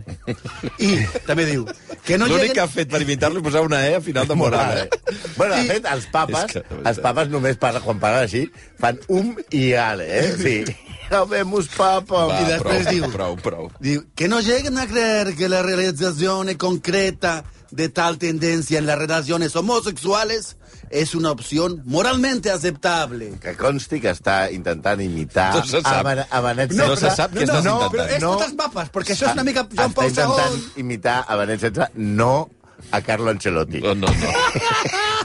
[SPEAKER 5] I també diu que no
[SPEAKER 2] L'únic
[SPEAKER 5] lleguen-
[SPEAKER 2] que ha fet per imitar-lo és posar una E a final de moral.
[SPEAKER 4] Morale.
[SPEAKER 2] Eh?
[SPEAKER 4] Bueno, de
[SPEAKER 5] I-
[SPEAKER 4] fet, els papes,
[SPEAKER 2] És que eh, de veritat.
[SPEAKER 4] els papes només parlen, quan parlen així, fan um i ale, eh? Sí. Habemus papa.
[SPEAKER 2] Va,
[SPEAKER 5] I després
[SPEAKER 2] prou,
[SPEAKER 5] diu-
[SPEAKER 2] Prou, prou.
[SPEAKER 5] Digo, que no lleguen a creer que la realización concreta de tal tendencia en las relaciones homosexuales es una opción moralmente aceptable.
[SPEAKER 4] Que consti que està intentant imitar
[SPEAKER 2] No se sap.
[SPEAKER 4] a Ben- a Benet
[SPEAKER 2] No,
[SPEAKER 4] XVI.
[SPEAKER 2] se sap què estàs
[SPEAKER 4] no,
[SPEAKER 2] intentant.
[SPEAKER 4] però
[SPEAKER 5] És
[SPEAKER 4] no.
[SPEAKER 5] totes mapes, perquè això és
[SPEAKER 4] Ah,
[SPEAKER 5] una mica
[SPEAKER 4] Està
[SPEAKER 5] Joan Pau
[SPEAKER 4] intentant
[SPEAKER 5] II.
[SPEAKER 4] imitar a Benet XVI, no a Carlo Ancelotti.
[SPEAKER 2] No, no, no.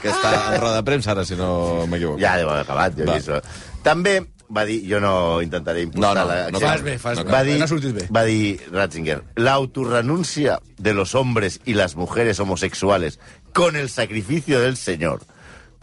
[SPEAKER 2] que està en roda de premsa ara, si no m'equivoco.
[SPEAKER 4] Ja deu haver acabat, jo
[SPEAKER 2] Va.
[SPEAKER 4] he vist. També va dir, jo no intentaré impulsar
[SPEAKER 2] No, no,
[SPEAKER 4] la...
[SPEAKER 2] no
[SPEAKER 4] aquesta-
[SPEAKER 2] fas bé, fas bé.
[SPEAKER 4] va dir,
[SPEAKER 5] No ha sortit bé.
[SPEAKER 4] Va dir Ratzinger, la autorrenuncia de los hombres y las mujeres homosexuales con el sacrificio del Señor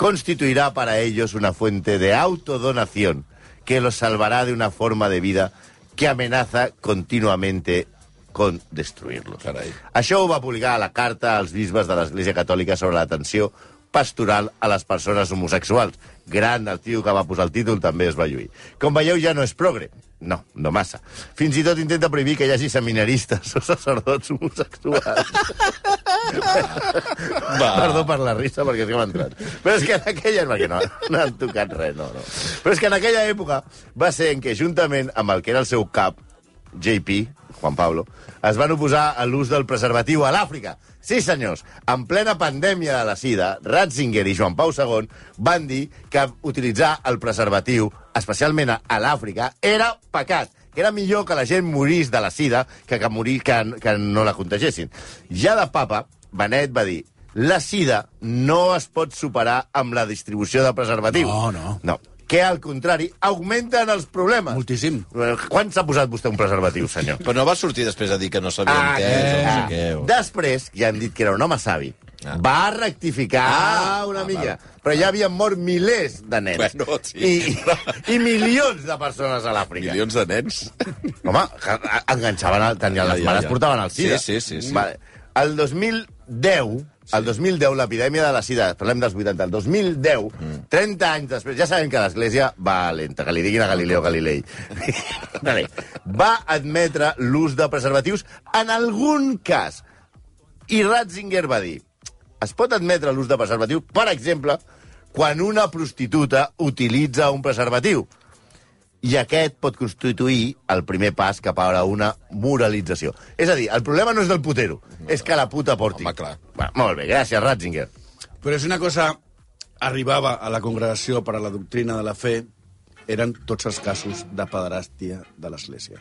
[SPEAKER 4] constituirá para ellos una fuente de autodonación que los salvará de una forma de vida que amenaza continuamente con destruirlos.
[SPEAKER 2] Carai.
[SPEAKER 4] Això ho va publicar a la carta als bisbes de l'Església Catòlica sobre l'atenció pastoral a les persones homosexuals. Gran, el tio que va posar el títol també es va lluir. Com veieu, ja no és progre. No, no massa. Fins i tot intenta prohibir que hi hagi seminaristes o sacerdots homosexuals.
[SPEAKER 2] Va.
[SPEAKER 4] Perdó per la risa, perquè és que m'ha entrat. Però és que en aquella... Perquè no, no han tocat res, no, no. Però és que en aquella època va ser en què, juntament amb el que era el seu cap, JP, Juan Pablo, es van oposar a l'ús del preservatiu a l'Àfrica. Sí, senyors, en plena pandèmia de la sida, Ratzinger i Joan Pau II van dir que utilitzar el preservatiu, especialment a- a l'Àfrica, era pecat que era millor que la gent morís de la sida que que, morir, que, que no la contagessin. Ja de papa, Benet va dir la sida no es pot superar amb la distribució de preservatiu.
[SPEAKER 5] No, no.
[SPEAKER 4] No, que al contrari, augmenten els problemes.
[SPEAKER 5] Moltíssim.
[SPEAKER 4] Eh, Quan s'ha posat vostè un preservatiu, senyor?
[SPEAKER 2] Però no va sortir després a dir que no s'havia ah, entès o no sé
[SPEAKER 4] Ah,
[SPEAKER 2] què. O...
[SPEAKER 4] Després, ja han dit que era un home savi,
[SPEAKER 2] Ah.
[SPEAKER 4] va rectificar
[SPEAKER 2] Ah,
[SPEAKER 4] una
[SPEAKER 2] ah,
[SPEAKER 4] mica.
[SPEAKER 2] val.
[SPEAKER 4] Però ja havien mort milers de nens.
[SPEAKER 2] Bueno, sí.
[SPEAKER 4] I, i, I milions de persones a l'Àfrica.
[SPEAKER 2] Milions de nens.
[SPEAKER 4] Home, que a- enganxaven, el, tenien,
[SPEAKER 2] Ja,
[SPEAKER 4] les
[SPEAKER 2] ja,
[SPEAKER 4] mares
[SPEAKER 2] ja.
[SPEAKER 4] portaven el sida.
[SPEAKER 2] Sí, sí, sí, sí.
[SPEAKER 4] Vale. El 2010, el 2010, l'epidèmia de la sida, parlem dels 80, el 2010,
[SPEAKER 2] Mm.
[SPEAKER 4] 30 anys després, ja sabem que l'Església va lenta, que li diguin a Galileo Galilei. vale. Va admetre l'ús de preservatius en algun cas. I Ratzinger va dir, es pot admetre l'ús de preservatiu, per exemple, quan una prostituta utilitza un preservatiu. I aquest pot constituir el primer pas cap a una moralització. És a dir, el problema no és del putero, és que la puta porti.
[SPEAKER 2] Home, clar.
[SPEAKER 4] Va, molt bé, gràcies, Ratzinger.
[SPEAKER 5] Però és una cosa... Arribava a la Congregació per a la Doctrina de la Fe eren tots els casos de pederàstia de l'Església.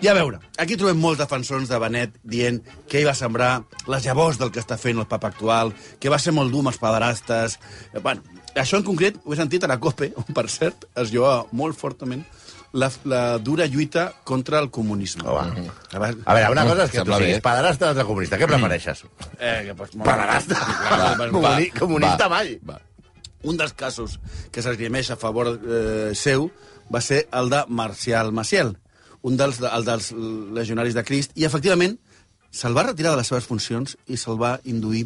[SPEAKER 5] I a veure, aquí trobem molts defensors de Benet dient que ell va sembrar les llavors del que està fent el papa actual, que va ser molt dur amb els pederastes... Eh, Bueno, això en concret ho he sentit a la COPE, on, per cert, es lloa molt fortament la, la dura lluita contra el comunisme.
[SPEAKER 4] Oh, va.
[SPEAKER 5] va.
[SPEAKER 4] A veure, una cosa és que tu
[SPEAKER 2] Sembla bé.
[SPEAKER 4] siguis pederasta o altre comunista.
[SPEAKER 5] Mhm.
[SPEAKER 4] Què prefereixes?
[SPEAKER 5] Eh, que, pues, molt-
[SPEAKER 4] Pederasta! Comuni- comunista mai.
[SPEAKER 2] Va.
[SPEAKER 5] Un dels casos que s'esgrimeix a favor eh, seu va ser el de Marcial Maciel, un dels, el dels legionaris de Crist, i efectivament se'l va retirar de les seves funcions i se'l va induir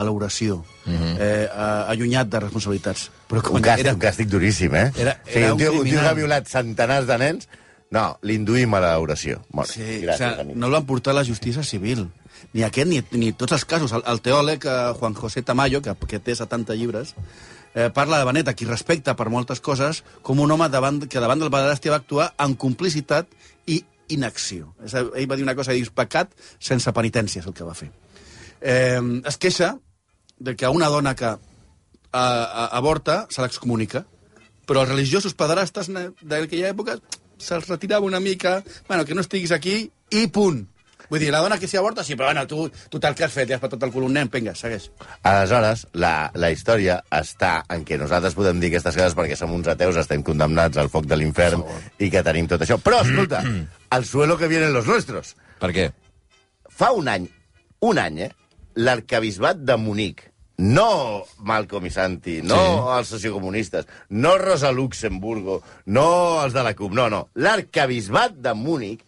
[SPEAKER 5] a l'oració, eh, a- allunyat de responsabilitats. Però
[SPEAKER 4] Un
[SPEAKER 5] com
[SPEAKER 4] càstig,
[SPEAKER 5] era,
[SPEAKER 4] un càstig duríssim, eh?
[SPEAKER 5] Era-
[SPEAKER 4] o sigui,
[SPEAKER 5] era
[SPEAKER 4] un, tio,
[SPEAKER 5] un
[SPEAKER 4] un tio que ha
[SPEAKER 5] criminal.
[SPEAKER 4] violat centenars de nens No, l'induïm a l'oració. Molt bé,
[SPEAKER 5] Sí,
[SPEAKER 4] gràcies,
[SPEAKER 5] o sigui,
[SPEAKER 4] amic.
[SPEAKER 5] no l'han portat a la justícia civil. Ni aquest ni, ni tots els casos. El, el teòleg eh, Juan José Tamayo, que, que té 70 llibres, eh, parla de Benet, a qui respecta per moltes coses, com un home davant, que davant del pederàstia va actuar en complicitat i inacció. És a, ell va dir una cosa, dius, pecat sense penitència, és el que va fer. Eh, es queixa de que a una dona que a, a, avorta se l'excomunica, però els religiosos pederastes ne- d'aquella època se'ls retirava una mica, bueno, que no estiguis aquí, i punt. Vull dir, la dona que s'hi avorta, sí, però bueno, tu, tu tal que has fet, ja has patat el cul a un nen, vinga, segueix.
[SPEAKER 4] Aleshores, la, la història està en què nosaltres podem dir aquestes coses perquè som uns ateus, estem condemnats al foc de l'infern i que tenim tot això. Però, escolta, al suelo que vienen los nuestros.
[SPEAKER 2] Per què?
[SPEAKER 4] Fa un any, un any, eh, l'arcabisbat de Munic, no Malcolm i Santi, no
[SPEAKER 2] Sí.
[SPEAKER 4] els sociocomunistes, no Rosa Luxemburgo, no els de la CUP, no, no. L'arcabisbat de Múnich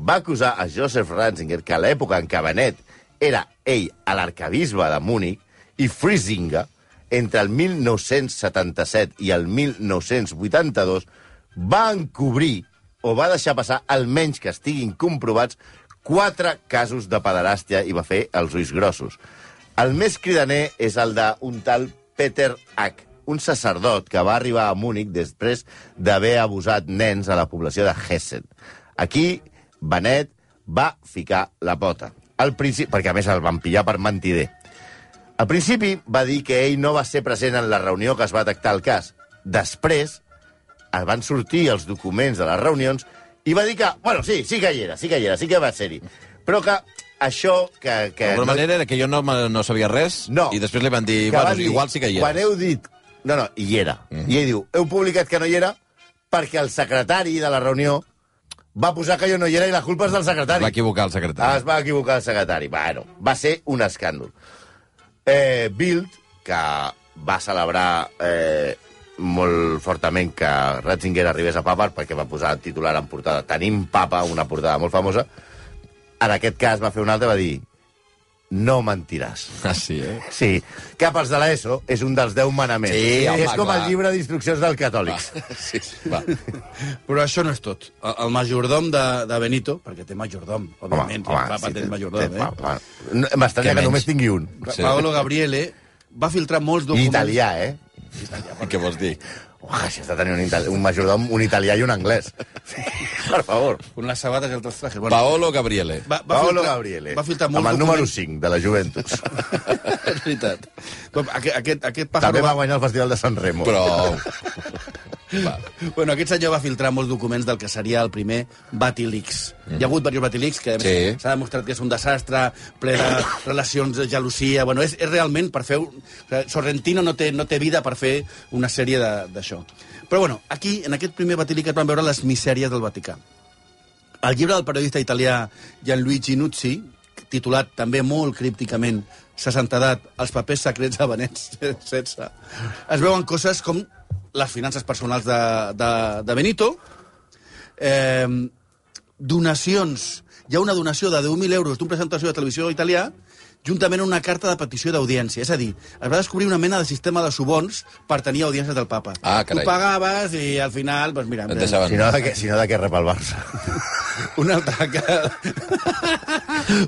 [SPEAKER 4] va acusar a Joseph Ratzinger que a l'època en què Benet era ell a l'arcabisbe de Múnich i Friesinger, entre el 1977 i el 1982, va encobrir o va deixar passar, almenys que estiguin comprovats, quatre casos de pederàstia i va fer els ulls grossos. El més cridaner és el d'un tal Peter H., un sacerdot que va arribar a Múnich després d'haver abusat nens a la població de Hessen. Aquí, Benet va ficar la pota. Al principi, perquè a més el van pillar per mentider. Al principi va dir que ell no va ser present en la reunió que es va detectar el cas. Després es van sortir els documents de les reunions i va dir que, bueno, sí, sí que hi era, sí que hi era, sí que va ser-hi. Però que això que... que
[SPEAKER 2] D'alguna
[SPEAKER 4] no-
[SPEAKER 2] manera era que jo no, me- no sabia res
[SPEAKER 4] No.
[SPEAKER 2] i després li van dir,
[SPEAKER 4] que
[SPEAKER 2] bueno,
[SPEAKER 4] van dir,
[SPEAKER 2] igual sí que hi
[SPEAKER 4] Quan
[SPEAKER 2] era. Mhm.
[SPEAKER 4] heu dit... No, no, hi era. I ell diu, heu publicat que no hi era perquè el secretari de la reunió va posar que jo no hi era i la culpa és del secretari.
[SPEAKER 2] Va equivocar el
[SPEAKER 4] Ah,
[SPEAKER 2] secretari.
[SPEAKER 4] es va equivocar el secretari. Bueno, va ser un escàndol. Eh, Bild, que va celebrar eh, molt fortament que Ratzinger arribés a Papa perquè va posar el titular en portada Tenim Papa, una portada molt famosa. En aquest cas va fer un altre, va dir no mentiràs.
[SPEAKER 2] Ah, sí, eh?
[SPEAKER 4] Sí, cap als de l'ESO és un dels deu manaments.
[SPEAKER 2] Sí, home,
[SPEAKER 4] és com
[SPEAKER 2] clar.
[SPEAKER 4] el llibre d'instruccions del catòlics.
[SPEAKER 2] Sí, va.
[SPEAKER 5] Però això no és tot. El, el majordom de, de Benito, perquè té majordom, òbviament, home, home, papa sí, té majordom,
[SPEAKER 4] va,
[SPEAKER 5] eh?
[SPEAKER 4] va. No,
[SPEAKER 2] Què
[SPEAKER 4] M'estranya que només
[SPEAKER 2] menys?
[SPEAKER 4] tingui un.
[SPEAKER 2] Sí.
[SPEAKER 5] Paolo Gabriele va filtrar molts
[SPEAKER 4] I
[SPEAKER 5] documents...
[SPEAKER 4] italià, eh?
[SPEAKER 2] Què vols dir?
[SPEAKER 4] Uah, si has de tenir un, itali un majordom, un italià i un anglès. Sí, per favor.
[SPEAKER 5] Con les sabates i els trajes. Bueno,
[SPEAKER 2] Paolo Gabriele.
[SPEAKER 5] va, va
[SPEAKER 4] Paolo
[SPEAKER 5] filtrar,
[SPEAKER 4] Gabriele,
[SPEAKER 5] Va filtrar molts
[SPEAKER 4] amb el número
[SPEAKER 5] documents...
[SPEAKER 4] 5 de la Juventus.
[SPEAKER 5] és veritat. Com Aquest, aquest, aquest pàjaro
[SPEAKER 4] També
[SPEAKER 5] va-
[SPEAKER 4] va guanyar el Festival de San Remo.
[SPEAKER 2] Però...
[SPEAKER 5] Bueno, aquest senyor va filtrar molts documents del que seria el primer Batilix. Mm. Hi ha hagut diversos Batilix, que a més,
[SPEAKER 2] Sí.
[SPEAKER 5] s'ha demostrat que és un desastre, ple de relacions de gelosia... Bueno, és, és realment per fer... Un... Sorrentino no té, no té vida per fer una sèrie de- d'això. Però bueno, aquí, en aquest primer Batilix, es van veure les misèries del Vaticà. El llibre del periodista italià Gianluigi Nuzzi, titulat també molt crípticament Sassantedat, els papers secrets de Benet XVI, es veuen coses com les finances personals de, de, de Benito, eh, donacions, hi ha una donació de 10.000 euros d'un presentació de televisió italià juntament amb una carta de petició d'audiència. És a dir, es va descobrir una mena de sistema de subons per tenir audiències del papa.
[SPEAKER 2] Ah, carai.
[SPEAKER 5] Tu pagaves i al final, doncs mira...
[SPEAKER 2] Et deixaven.
[SPEAKER 4] Si no, de què, si no, de què rep el Barça?
[SPEAKER 5] Una altra carta...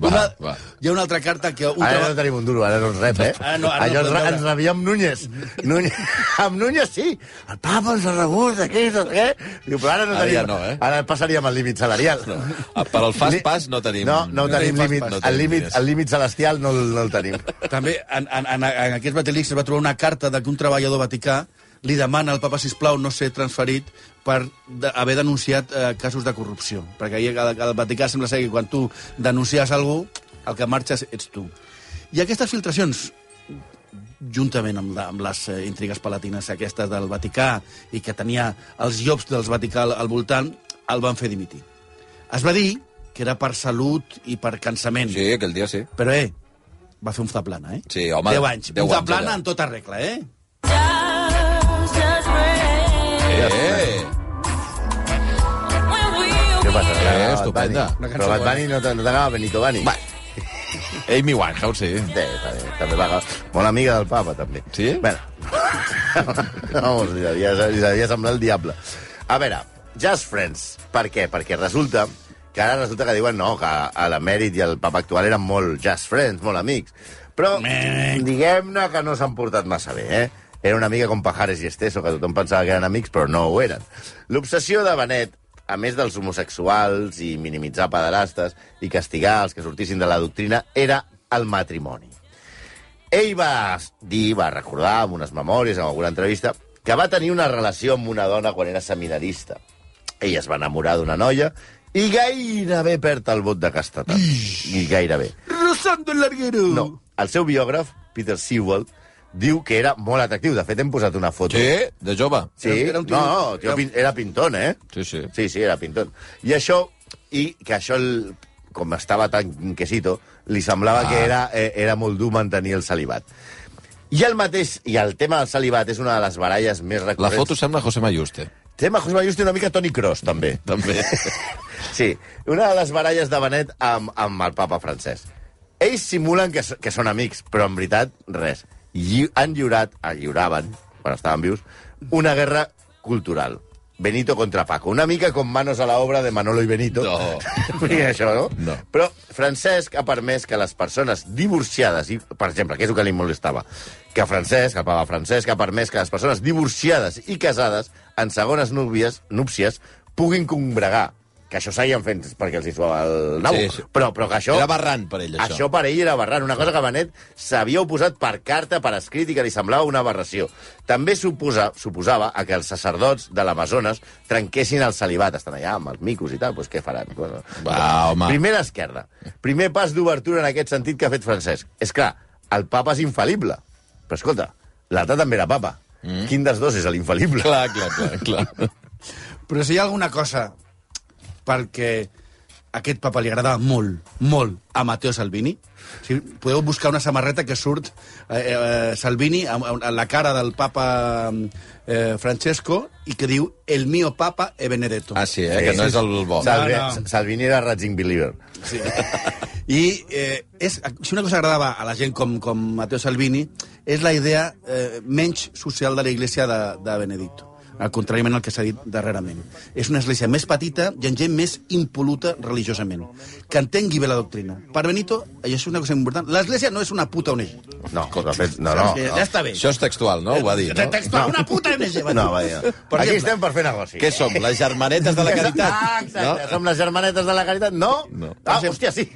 [SPEAKER 2] Va,
[SPEAKER 5] una...
[SPEAKER 2] va. Ah, eh?
[SPEAKER 5] Hi ha una altra carta que... Un
[SPEAKER 4] Ara no
[SPEAKER 5] treball...
[SPEAKER 4] tenim un duro, ara no ens rep, eh?
[SPEAKER 5] Ara no, ara
[SPEAKER 4] Allò
[SPEAKER 5] no
[SPEAKER 4] ens,
[SPEAKER 5] podem veure.
[SPEAKER 4] ens rebia amb Núñez. Núñez. amb Núñez sí. El papa ens ha rebut, aquí, no sé què. Diu, però ara no
[SPEAKER 2] Ara
[SPEAKER 4] tenim...
[SPEAKER 2] ja no, eh?
[SPEAKER 4] Ara passaríem el límit salarial. No.
[SPEAKER 2] Ah, Per al fast pass no tenim...
[SPEAKER 4] No, no, tenim,
[SPEAKER 5] fast
[SPEAKER 4] límit.
[SPEAKER 2] pass.
[SPEAKER 4] el, límit,
[SPEAKER 2] diners.
[SPEAKER 4] el límit celestial no, el- no el tenim.
[SPEAKER 5] També en, en, en, en aquest Batilix es va trobar una carta de que un treballador vaticà li demana al papa, sisplau, no ser transferit per de, haver denunciat eh, casos de corrupció. Perquè ahir al, al Vaticà sembla ser que quan tu denuncies algú, el que marxes ets tu. I aquestes filtracions, juntament amb, la, amb les eh, intrigues palatines aquestes del Vaticà i que tenia els llops dels Vaticà al, al voltant, el van fer dimitir. Es va dir que era per salut i per cansament.
[SPEAKER 2] Sí, aquell dia sí.
[SPEAKER 5] Però, eh, va fer un zaplana, eh?
[SPEAKER 2] Sí, home,
[SPEAKER 5] 10 anys.
[SPEAKER 2] 10
[SPEAKER 5] un zaplana
[SPEAKER 2] anys, allà.
[SPEAKER 5] en tota regla, eh?
[SPEAKER 2] Eh,
[SPEAKER 4] Què passa?
[SPEAKER 2] Eh,
[SPEAKER 4] Bad
[SPEAKER 2] estupenda.
[SPEAKER 4] Bunny.
[SPEAKER 5] Una cançó
[SPEAKER 4] Però Bad
[SPEAKER 5] bona.
[SPEAKER 4] Bunny no t- no t'agrada Benito Bunny?
[SPEAKER 2] Va. Amy Winehouse, sí.
[SPEAKER 4] Bé, també, també va agradar. Molt amiga del papa, també.
[SPEAKER 2] Sí?
[SPEAKER 4] doncs, Bueno. Vamos, li devia, li devia semblar el diable. A veure, Just Friends. Per què? Perquè resulta que ara resulta que diuen no, que a l'emèrit i el papa actual eren molt just friends, molt amics. Però diguem-ne que no s'han portat massa bé, eh? Era una mica com Pajares i Esteso, que tothom pensava que eren amics, però no ho eren. L'obsessió de Benet, a més dels homosexuals i minimitzar pederastes i castigar els que sortissin de la doctrina, era el matrimoni. Ell va dir, va recordar en unes memòries, en alguna entrevista, que va tenir una relació amb una dona quan era seminarista. Ell es va enamorar d'una noia i gairebé perd el vot de castetat. I gairebé.
[SPEAKER 5] Rosando el larguero!
[SPEAKER 4] No, el seu biògraf, Peter Sewell, diu que era molt atractiu. De fet, hem posat una foto.
[SPEAKER 2] Sí, de jove.
[SPEAKER 4] Sí?
[SPEAKER 5] Era un tio-
[SPEAKER 4] no, no, tio,
[SPEAKER 5] era-
[SPEAKER 4] era... era pintón, eh?
[SPEAKER 2] Sí, sí.
[SPEAKER 4] Sí, sí, era pintón. I això, i que això, el, com estava tan quesito, li semblava ah. que era, eh, era molt dur mantenir el celibat. I el mateix, i el tema del celibat és una de les baralles més
[SPEAKER 2] La
[SPEAKER 4] recurrents.
[SPEAKER 2] foto sembla José Mayuste.
[SPEAKER 4] Tema José Mayús té una mica Toni Kroos, també.
[SPEAKER 2] També.
[SPEAKER 4] Sí, una de les baralles de Benet amb, amb el papa francès. Ells simulen que, s- que són amics, però en veritat, res. Lli han lliurat, ah, lliuraven, quan estaven vius, una guerra cultural. Benito contra Paco. Una mica com manos a la obra de Manolo i Benito.
[SPEAKER 2] No.
[SPEAKER 4] Vull dir això, no?
[SPEAKER 2] No.
[SPEAKER 4] Però Francesc ha permès que les persones divorciades, i, per exemple, que és el que li molestava, que Francesc, el papa Francesc, ha permès que les persones divorciades i casades en segones núvies, núpcies puguin congregar. Que això seguien fent perquè els hi suava el nabo.
[SPEAKER 2] Sí, sí.
[SPEAKER 4] Però, però que això...
[SPEAKER 2] Era barrant per ell, això.
[SPEAKER 4] Això per ell era aberrant, una cosa que Benet s'havia oposat per carta, per escrit, i que li semblava una aberració. També suposa, suposava a que els sacerdots de l'Amazones trenquessin el celibat. Estan allà amb els micos i tal, doncs què faran?
[SPEAKER 2] Va, home.
[SPEAKER 4] Primera esquerda. Primer pas d'obertura en aquest sentit que ha fet Francesc. És clar, el papa és infal·lible. Però escolta, l'altre també era papa. Mm. Quin dels dos és l'infal·lible?
[SPEAKER 2] Clar, clar, clar, clar.
[SPEAKER 5] Però si hi ha alguna cosa perquè a aquest papa li agradava molt, molt a Matteo Salvini, o sigui, podeu buscar una samarreta que surt eh, eh, Salvini a, a la cara del papa eh, Francesco i que diu el mio papa e benedetto.
[SPEAKER 2] Ah, sí, eh? Que no és el bo.
[SPEAKER 4] Salvi,
[SPEAKER 5] No, no.
[SPEAKER 4] Salvini era Raging Believer.
[SPEAKER 5] Sí. I eh, és, si una cosa agradava a la gent com, com Matteo Salvini és la idea eh, menys social de la Iglesia de, de Benedicto al contràriament al que s'ha dit darrerament. És una església més petita i amb gent més impoluta religiosament, que entengui bé la doctrina. Per Benito, això és una cosa important, l'església no és una puta ONG.
[SPEAKER 4] No, de fet, no, no.
[SPEAKER 5] ja, ja està bé.
[SPEAKER 2] Això és textual, no? Ho va dir,
[SPEAKER 5] De
[SPEAKER 2] no?
[SPEAKER 5] textual, una puta ONG. va dir.
[SPEAKER 4] No, va dir, no.
[SPEAKER 5] Per
[SPEAKER 4] Aquí
[SPEAKER 5] exemple-
[SPEAKER 4] estem per fer negoci.
[SPEAKER 2] Què som, les germanetes de la
[SPEAKER 4] Ah,
[SPEAKER 2] caritat?
[SPEAKER 4] exacte. No? Som les germanetes de la caritat? No?
[SPEAKER 2] No.
[SPEAKER 4] Ah, hòstia, sí.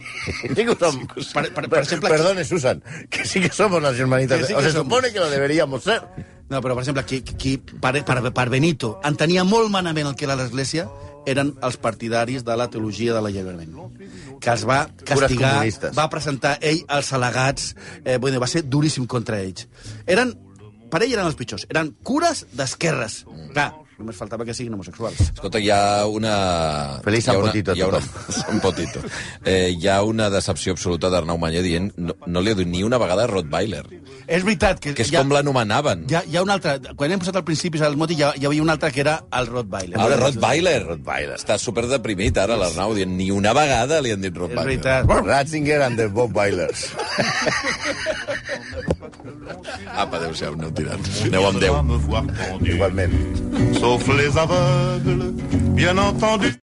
[SPEAKER 4] Sí que ho som.
[SPEAKER 5] Per- per- per exemple-
[SPEAKER 4] Perdone, Susan, que sí que somos las germanitas.
[SPEAKER 5] Que sí
[SPEAKER 4] o
[SPEAKER 5] que
[SPEAKER 4] se
[SPEAKER 5] somos.
[SPEAKER 4] supone que lo deberíamos ser.
[SPEAKER 5] No, però, per exemple, qui, qui per, per, per Benito entenia molt manament el que era l'Església eren els partidaris de la teologia de l'alliberament, que els va castigar,
[SPEAKER 4] comunistes.
[SPEAKER 5] va presentar ell als al·legats, eh, vull dir, va ser duríssim contra ells. Eren, per ell eren els pitjors, eren cures d'esquerres. Clar, només faltava que siguin homosexuals.
[SPEAKER 2] Escolta, hi ha una...
[SPEAKER 4] Feliç
[SPEAKER 2] hi ha
[SPEAKER 4] Sant
[SPEAKER 2] una-
[SPEAKER 4] Potito a
[SPEAKER 2] hi ha una-
[SPEAKER 4] tothom.
[SPEAKER 2] Sant Potito. Eh, hi ha una decepció absoluta d'Arnau Mañé dient no, no li he dit ni una vegada a Rottweiler,
[SPEAKER 5] És veritat que...
[SPEAKER 2] que és ja, com l'anomenaven.
[SPEAKER 5] Hi ha, hi ha un altre, quan hem posat al principi el moti, hi, ha- hi havia un altre que era Ah, el Rottweiler.
[SPEAKER 2] Ara, Rottweiler.
[SPEAKER 4] Rottweiler.
[SPEAKER 2] Està superdeprimit, ara, l'Arnau, dient ni una vegada li han dit
[SPEAKER 5] És
[SPEAKER 2] Rottweiler.
[SPEAKER 5] veritat.
[SPEAKER 4] Ratzinger and the Bob Bailers.
[SPEAKER 2] Apa, adéu-siau, aneu tirant. Aneu amb Déu.
[SPEAKER 3] me voir pendu.
[SPEAKER 4] Igualment.
[SPEAKER 3] Sauf les aveugles, bien entendu.